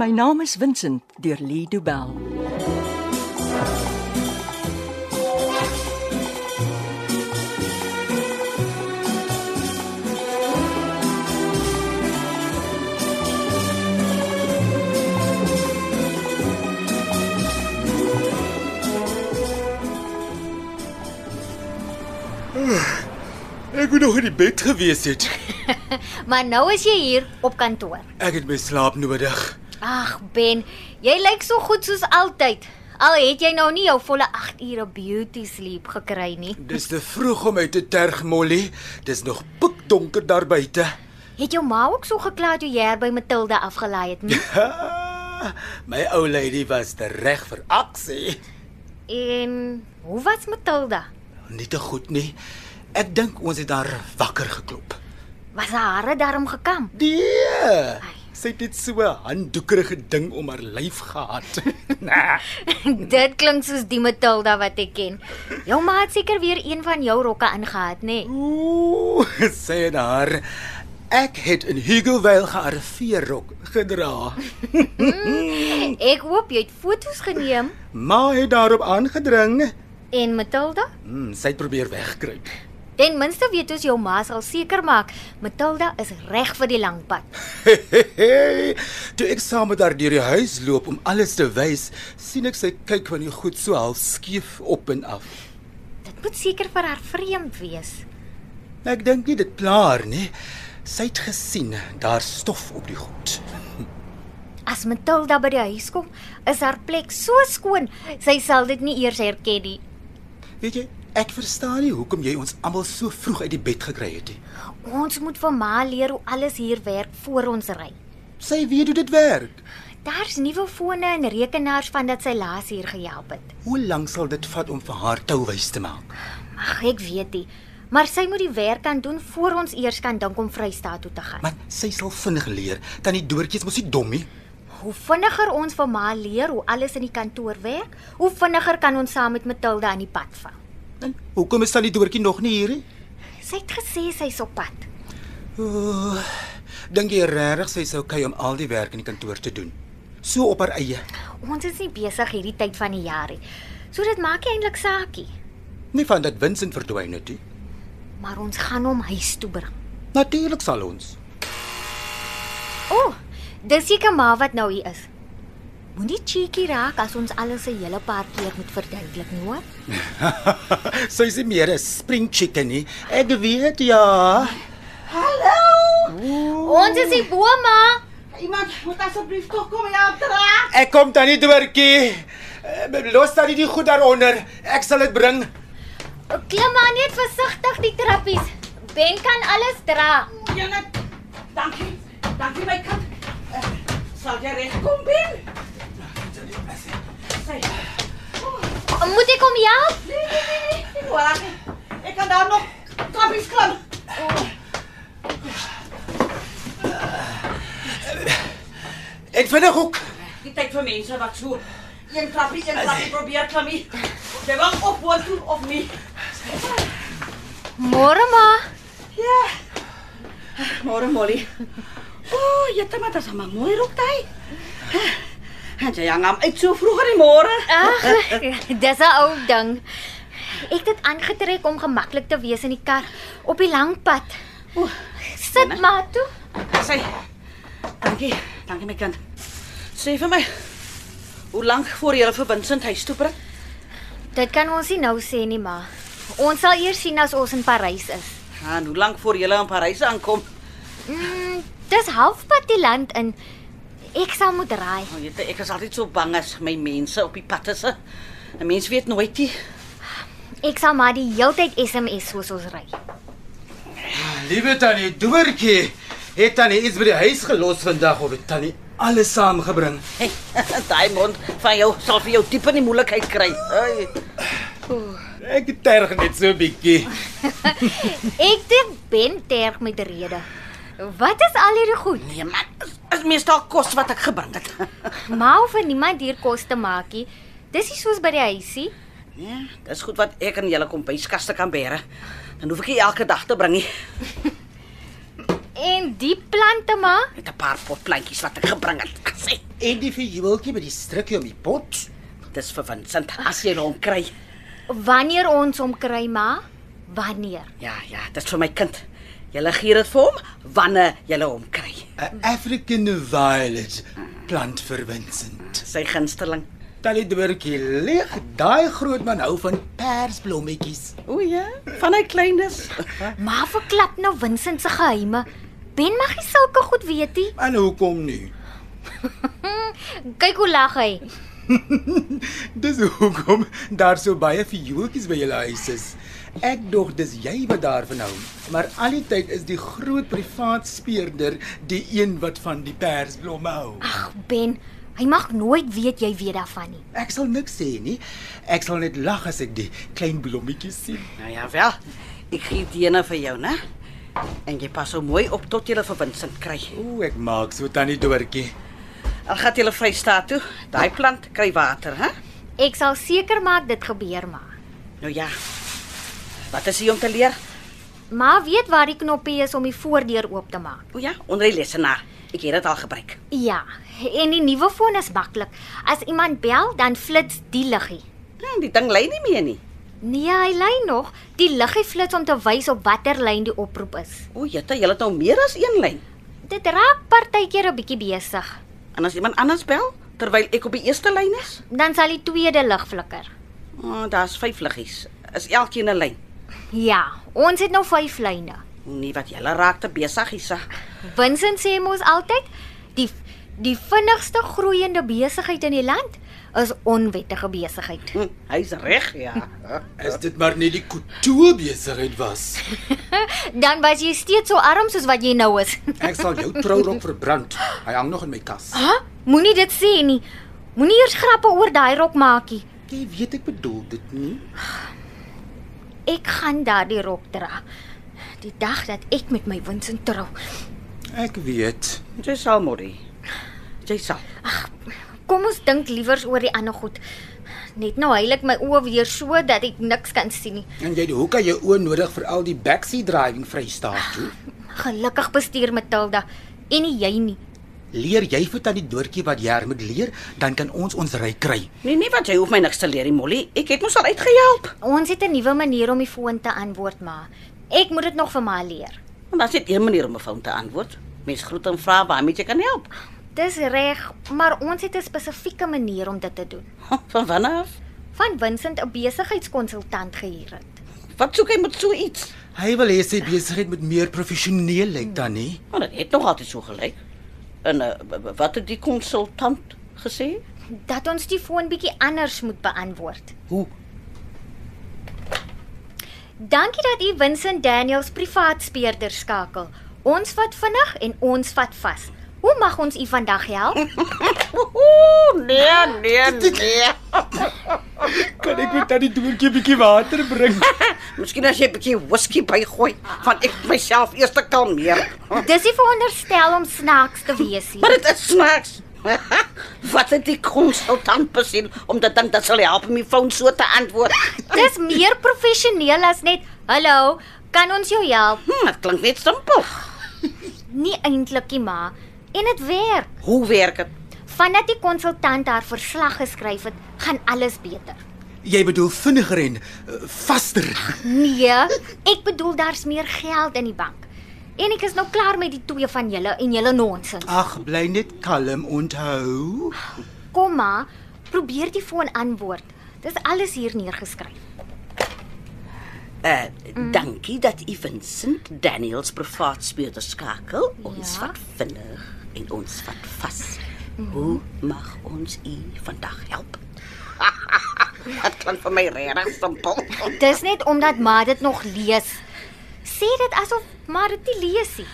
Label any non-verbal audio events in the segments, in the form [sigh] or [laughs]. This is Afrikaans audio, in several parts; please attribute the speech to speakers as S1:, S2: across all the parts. S1: My naam is Vincent deur Lee Du Bell.
S2: Ek het nog in die bed gewees het.
S3: Maar nou is jy hier op kantoor.
S2: Ek het my slaap nodig.
S3: Ag Ben, jy lyk so goed soos altyd. Al het jy nou nie jou volle 8 ure beauty sleep gekry nie.
S2: Dis te vroeg om uit te terg, Molly. Dis nog pikdonker daar buite.
S3: Het jou ma ook so gekla toe jy haar by Matilda afgelaai het nie?
S2: Ha, my ou lady was te reg vir aksie.
S3: En hoe was Matilda?
S2: Nie te goed nie. Ek dink ons het haar wakker geklop.
S3: Was haar hare daarom gekam?
S2: [laughs] Nee. Sy het net so 'n handdoekerige ding om haar lyf gehad. nah.
S3: Dit klink soos die Matilda wat ek ken. Jou ma het seker weer een van jou rokke aangehad, nê? Nee?
S2: Ooh, sê daar. Ek het in Hugovale gearriveerrok gedra.
S3: Ek hoop jy het foto's geneem.
S2: Ma het daarop aangedring.
S3: En Matilda?
S2: Hmm, sy het probeer wegkruip.
S3: Ten minste weet ons jou ma sal seker maak Matilda is reg vir die lang pad.
S2: Toe ek saam met haar deur die huis loop om alles te wys, sien ek sy kyk van die goed so half skeef op en af.
S3: Dit moet seker vir haar vreemd wees.
S2: Nou, Ek dink nie dit plaar nie. Sy het gesien daar stof op die goed.
S3: As Matilda by die huis kom, is haar plek so skoon, sy sal dit nie eers herken nie.
S2: Weet jy, ek verstaan nie hoekom jy ons almal so vroeg uit die bed gekry het nie.
S3: Ons moet vir Ma leer hoe alles hier werk voor ons ry.
S2: Sy weet hoe dit werk.
S3: Daar's nuwe fone en rekenaars van dat sy laas hier gehelp het.
S2: Hoe lank sal dit vat om vir haar touwys te maak?
S3: Ag, ek weet nie, maar sy moet die werk kan doen voor ons eers kan dink om Vrystaat toe te gaan.
S2: Maar sy sal vinnig leer. Tannie Doortjie is mos nie dom nie.
S3: Hoe vinniger ons vir Ma leer hoe alles in die kantoor werk, hoe vinniger kan ons saam met Matilda aan die pad val.
S2: En hoekom is tannie Doortjie nog nie hier nie?
S3: Sy het gesê sy's op pad.
S2: Ooh, Dink jy regtig sy sou kyk om al die werk in die kantoor te doen? So op haar eie.
S3: Ons is nie besig hierdie tyd van die jaar nie. So dit maak nie eintlik saakie,
S2: Nie van dat Vincent verdwyn het nie.
S3: maar ons gaan hom huis toe bring.
S2: Natuurlik sal ons. [laughs]
S3: O, oh, dis seker maar wat nou hier is. Moenie cheeky raak as ons alles 'n hele paar keer moet verduidelik nie hoor.
S2: sy is nie meer 'n spring chicken nie. Ek weet ja.
S3: Ons is die boma.
S4: Iemand moet asseblief tog kom help dra.
S2: Ek kom tannie Doortjie. Eh, Los tannie die goed daaronder. Ek sal dit bring.
S3: Klim maar net versigtig die trappies. Ben kan alles dra.
S4: Jonne, dankie. Dankie my kat. Eh, Sal jy regkom bin? Sy.
S3: Moet ek hom help?
S4: Nee, nee, nee, nee. Ek hoor haar nie. Ek kan daar nog trappies klim.
S2: En vinnig ook.
S4: Die tyd vir mense wat so een trappie, een trappie probeer klim. nie. Jy wil op woontoe of nie?
S3: Môre maar.
S4: Ja. Môre Molly. O, oh, jy het maar dit sommer mooi Eh, rok daai. Het jy hang hom uit so vroeg in die môre?
S3: Ag, [laughs] dis 'n ou ding. Ek het dit aangetrek om gemaklik te wees in die kar op die lang pad.
S4: Oeh,
S3: Sit maar toe.
S4: Sy. Dankie. Dankie my kind. Sê vir my. Hoe lank voor jy vir Vincent huis toe bring?
S3: Dit kan ons nie nou sê nie, ma. Ons sal eers sien as ons in Parys is.
S4: En hoe lank voor jy in Parys aankom?
S3: Mm, dis halfpad die land in. Ek sal moet raai.
S4: Nou, weet, jy, ek is altyd so bang as my mense op die pad is. hè. 'n Mens weet nooit nie.
S3: Ek sal maar die heeltyd SMS soos ons ry.
S2: Liewe tannie Doortjie, het tannie iets by die huis gelos vandag of het tannie alles saamgebring?
S4: Hey, [laughs] daai mond van jou sal vir jou diep in die moeilikheid kry. Hey.
S2: Ek terg net so 'n bietjie.
S3: Ek dink Ben terg met rede. Wat is al hierdie goed?
S4: Nee man, is, is meestal kos wat ek gebring het. [laughs]
S3: Ma hoef vir niemand hier kos te maak nie. Dis nie soos by die huisie.
S4: Nee, dis goed wat ek aan julle kombuiskaste kan bære. Dan hoef ek nie elke dag te bring nie.
S3: En En die plante maar?
S4: Met 'n paar potplantjies wat ek gebring het. Sê,
S5: En die vierwieltjie met die strikkie om die pot.
S4: dis vir Vincent as jy hom kry.
S3: Wanneer ons hom kry ma? Wanneer?
S4: Ja, ja, dis vir my kind. Julle gee dit vir hom wanneer julle hom kry.
S2: 'n African violet plant vir Vincent.
S4: Sy gunsteling.
S2: Tannie Dorothy lig, daai groot man hou van persblommetjies.
S4: O ja, van hy kleinis.
S3: Maar verklap nou Vincent se geheime. Ben mag nie sulke goed weet nie.
S2: En hoekom nie?
S3: Kyk hoe lag hy.
S2: Dis hoekom daar so baie viooltjies by julle huis is. Ek dog dis jy wat daarvan hou, maar al die tyd is die groot privaat speurder die een wat van die persblomme hou.
S3: Ag Ben, hy mag nooit weet jy weet daarvan nie.
S2: Ek sal niks sê nie. Ek sal net lag as ek die klein blommetjies sien.
S4: Nou ja, wel. Ek gee die ene vir jou, né? En jy pas so mooi op tot jy vir Vincent kry.
S2: Ooh, ek maak so tannie Dortjie.
S4: Al gaan jy Vrystaat toe. Daai plant kry water, hè?
S3: Ek sal seker maak dit gebeur maar.
S4: Nou ja. Wat is hier om te leer?
S3: Ma weet waar die knoppie is om die voordeur oop te maak.
S4: O ja, onder die lesenaar. Ek het dit al gebruik.
S3: Ja, en die nuwe foon is maklik. As iemand bel, dan flits die liggie.
S4: Ja, die ding lei nie meer nie.
S3: Nee, hy lei nog. Die liggie flits om te wys op watter lyn die oproep is.
S4: O, jette, jy het nou meer as een lyn.
S3: Dit raak partykeer 'n bietjie besig.
S4: En as iemand anders bel terwyl ek op die eerste lyn is,
S3: Dan sal die tweede lig flikker.
S4: o, daar's vyf liggies. Is elkeen 'n lyn.
S3: Ja, ons het nou vyf lyne.
S4: Nie wat jy raak te besig hierse.
S3: Vincent sê mos altyd die die vinnigste groeiende besigheid in die land is onwettige besigheid.
S4: Hm, hy's reg, ja.
S2: Is dit maar nie die kultuur besigheid was.
S3: Dan was jy steeds so arm soos wat jy nou is. [laughs]
S2: Ek sal jou trourok verbrand. Hy hang nog in my kas.
S3: Ha? Moenie dit sê nie. Moenie eers grappe oor daai rok maakie.
S2: Jy weet ek bedoel dit nie.
S3: Ek gaan daardie rok dra. Die dag dat ek met my Vincent trou.
S2: Ek weet.
S4: Jy sal môre. Jy sal.
S3: Kom ons dink liewers oor die ander goed. Net nou heilig my oë weer so dat ek niks kan sien nie.
S2: En jy, hoe kan jy oë nodig vir al die backseat driving Vrystaat toe?
S3: Gelukkig bestuur Matilda en nie jy nie.
S2: Leer jy vir tannie Doortjie wat jy moet leer, dan kan ons ons ry kry.
S4: Nee, nee, want jy hoef my niks te leer nie, Molly. Ek het mos al uitgehelp.
S3: Ons het 'n nuwe manier om die foon te antwoord, maar ek moet dit nog vir my leer.
S4: Want daar's net een manier om 'n foon te antwoord. Mens groet en vra waarmee jy kan help. [laughs]
S3: Dis reg, maar ons het 'n spesifieke manier om dit te doen.
S4: Van wanneer? af?
S3: Van Vincent 'n besigheidskonsultant gehuur het.
S4: Wat soek hy met so iets?
S2: Hy wil hê sy besigheid moet meer professioneel lyk dan nie.
S4: Maar dit het nog altyd so gelyk. En uh, w- w- wat het die konsultant gesê?
S3: Dat ons die foon bietjie anders moet beantwoord.
S4: Hoe?
S3: Dankie dat u Vincent Daniels privaat speurder skakel. Ons vat vinnig en ons vat vas. Hoe mag ons u vandag help?
S4: Ooh, nee, nee, nee.
S2: Kan ek vir tannie Doortjie 'n bietjie water bring?
S4: Miskien as jy 'n bietjie whisky bygooi, van ek myself eers te kalmeer.
S3: Dis nie veronderstel om snaaks te wees nie.
S4: Maar dit is snaaks. [laughs] Wat het die konsultant besin om te dink dat sal help om die foon so te antwoord?
S3: Dis meer professioneel as net hallo, kan ons jou help?
S4: Hm, dit klink net simpel.
S3: Nie eintlik nie, ma. En dit werk.
S4: Hoe werk dit?
S3: Vandat die konsultant haar verslag geskryf het, gaan alles beter.
S2: Jy bedoel vinniger en uh, vaster.
S3: Nee, ek bedoel daar's meer geld in die bank. En ek is nou klaar met die twee van julle en julle nonsens.
S2: Ag, bly net kalm onthou.
S3: Kom ma, probeer die foon antwoord. Dis alles hier neergeskryf.
S4: Eh, mm. dankie dat u Vincent Daniels privaat speurder skakel. Ons
S3: Ja.
S4: ja. vat vinnig en ons vat vas. Mm. Hoe mag ons u vandag help? [laughs] Dit klink vir my regtig simpel.
S3: Dis net omdat ma dit nog lees. Sê dit asof maar dit nie lees nie.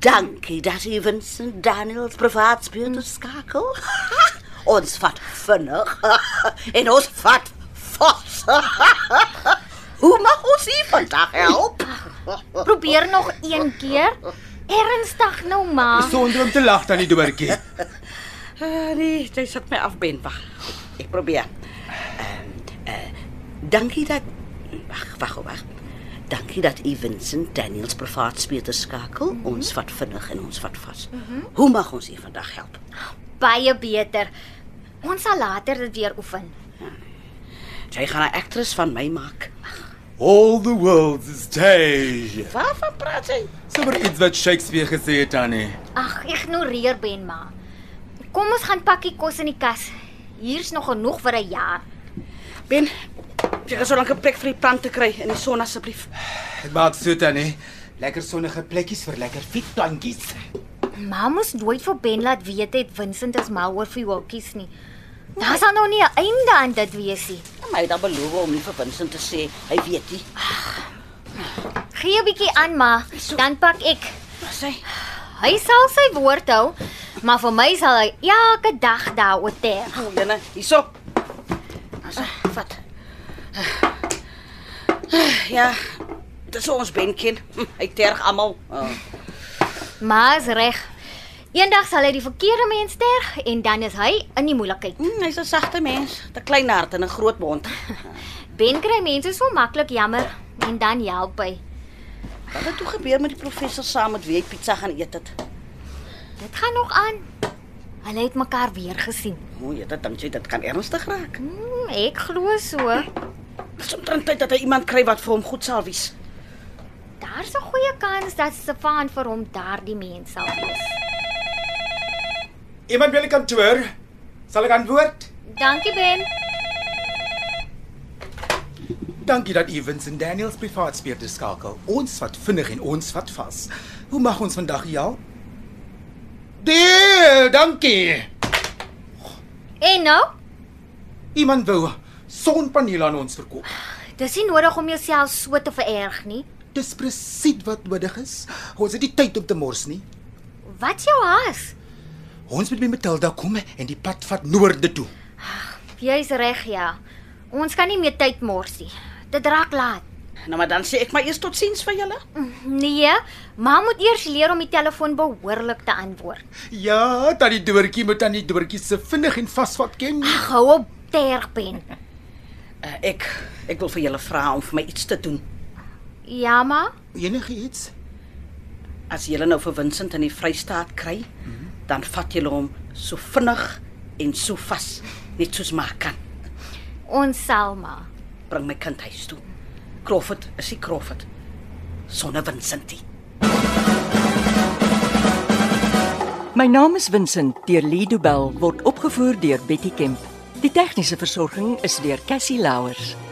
S4: Dankie dat u Vincent Daniels privaat speurder skakel. [laughs] ons vat vinnig [laughs] en ons vat vas. [laughs] Hoe mag ons u vandag help?
S3: Probeer nog een keer. Ernstig nou ma.
S2: Sonder om te lag tannie Doortjie.
S4: Uh, nee, jy sit my af ben wag. Ek probeer. Ehm eh dankie dat wag, wag, wag. Dankie dat u Vincent Daniels privaat speelder skakel. Ons vat vinnig en ons vat vas. Hoe mag ons u vandag help?
S3: Baie beter. Ons sal later dit weer oefen.
S4: Sy gaan 'n aktris van my maak.
S2: All the world's stage.
S4: Waarvan praat sy?
S2: Sommige iets wat Shakespeare gesê het, Tannie.
S3: Ag, ignoreer Ben maar. Kom ons gaan pakkie kos in die kas. Hier's nog genoeg vir 'n jaar.
S4: Ben, jy gaan so lank 'n plek vir die plant te kry in die son asseblief.
S2: Ek maak so, Tannie.
S5: Lekker sonnige plekkies vir lekker fietplantjies.
S3: Ma moes nooit vir Ben laat weet het Vincent is mal oor viooltjies nie. Daar sal nou nie 'n einde aan dit wees nie.
S4: En my dan beloof om nie vir Vincent te sê hy weet nie.
S3: Gee 'n bietjie aan, ma, dan pak ek.
S4: Sy
S3: Hy sal sy woord hou, maar vir my sal hy elke dag daaroor ter.
S4: Kom binne, hierso. Ons vat. Ja, dis ons Benkin. Hy terg almal. Oh.
S3: Ma is reg. Eendag sal hy die verkeerde mens terg en dan is hy in die moeilikheid.
S4: Mm, hy's 'n sagte mens, 'n klein hart en 'n groot mond.
S3: Ben kry mense so maklik jammer en dan help hy.
S4: Wat het toe gebeur met die professor saam met wie hy pizza gaan eet het?
S3: Dit gaan nog aan. Hulle het mekaar weer gesien.
S4: O, jy dit dink jy dit kan ernstig raak.
S3: Hmm, ek glo so.
S4: Dis omtrent tyd dat hy iemand kry wat vir hom goed sal wees.
S3: Daar's 'n goeie kans dat Stefan vir hom daardie mens sal wees.
S5: Iemand wil die kantoor? Sal ek antwoord?
S3: Dankie Ben.
S2: Dankie dat u Vincent Daniels privaat speelder skakel. Ons vat vinnig en ons vat vas. Hoe mag ons vandag u help?
S5: Nee, dankie.
S3: En nou,
S2: Iemand wou sonpanele aan ons verkoop.
S3: dis nie nodig om jouself so te vererg nie.
S2: Dis presies wat nodig is. Ons het nie tyd om te mors nie.
S3: Wat jou haas?
S2: Ons moet by Matilda kom en die pad vat noorde toe.
S3: Jy's reg ja. Ons kan nie meer tyd mors nie. Dit raak laat.
S4: Nou maar dan sê ek maar eers totsiens vir julle.
S3: Nee, ma moet eers leer om die telefoon behoorlik te antwoord.
S2: Ja, tannie Doortjie moet tannie Doortjie se vinnig en vasvat ken.
S3: Ag, hou op terg Ben.
S4: Uh, ek ek wil vir julle vra om vir my iets te doen.
S3: Ja ma,
S2: Ah, Enigiets.
S4: As julle nou vir Vincent in die Vrystaat kry, mm -hmm. dan vat julle hom so vinnig en so vas, net soos maar kan.
S3: ons sal maar.
S4: Bring my kind huis toe. Crawford, is hy Crawford? Sonder Vincentie.
S1: My naam is Vincent deur Lido Bell word opgevoer deur Betty Kemp. Die tegniese versorging is deur Cassie Louers.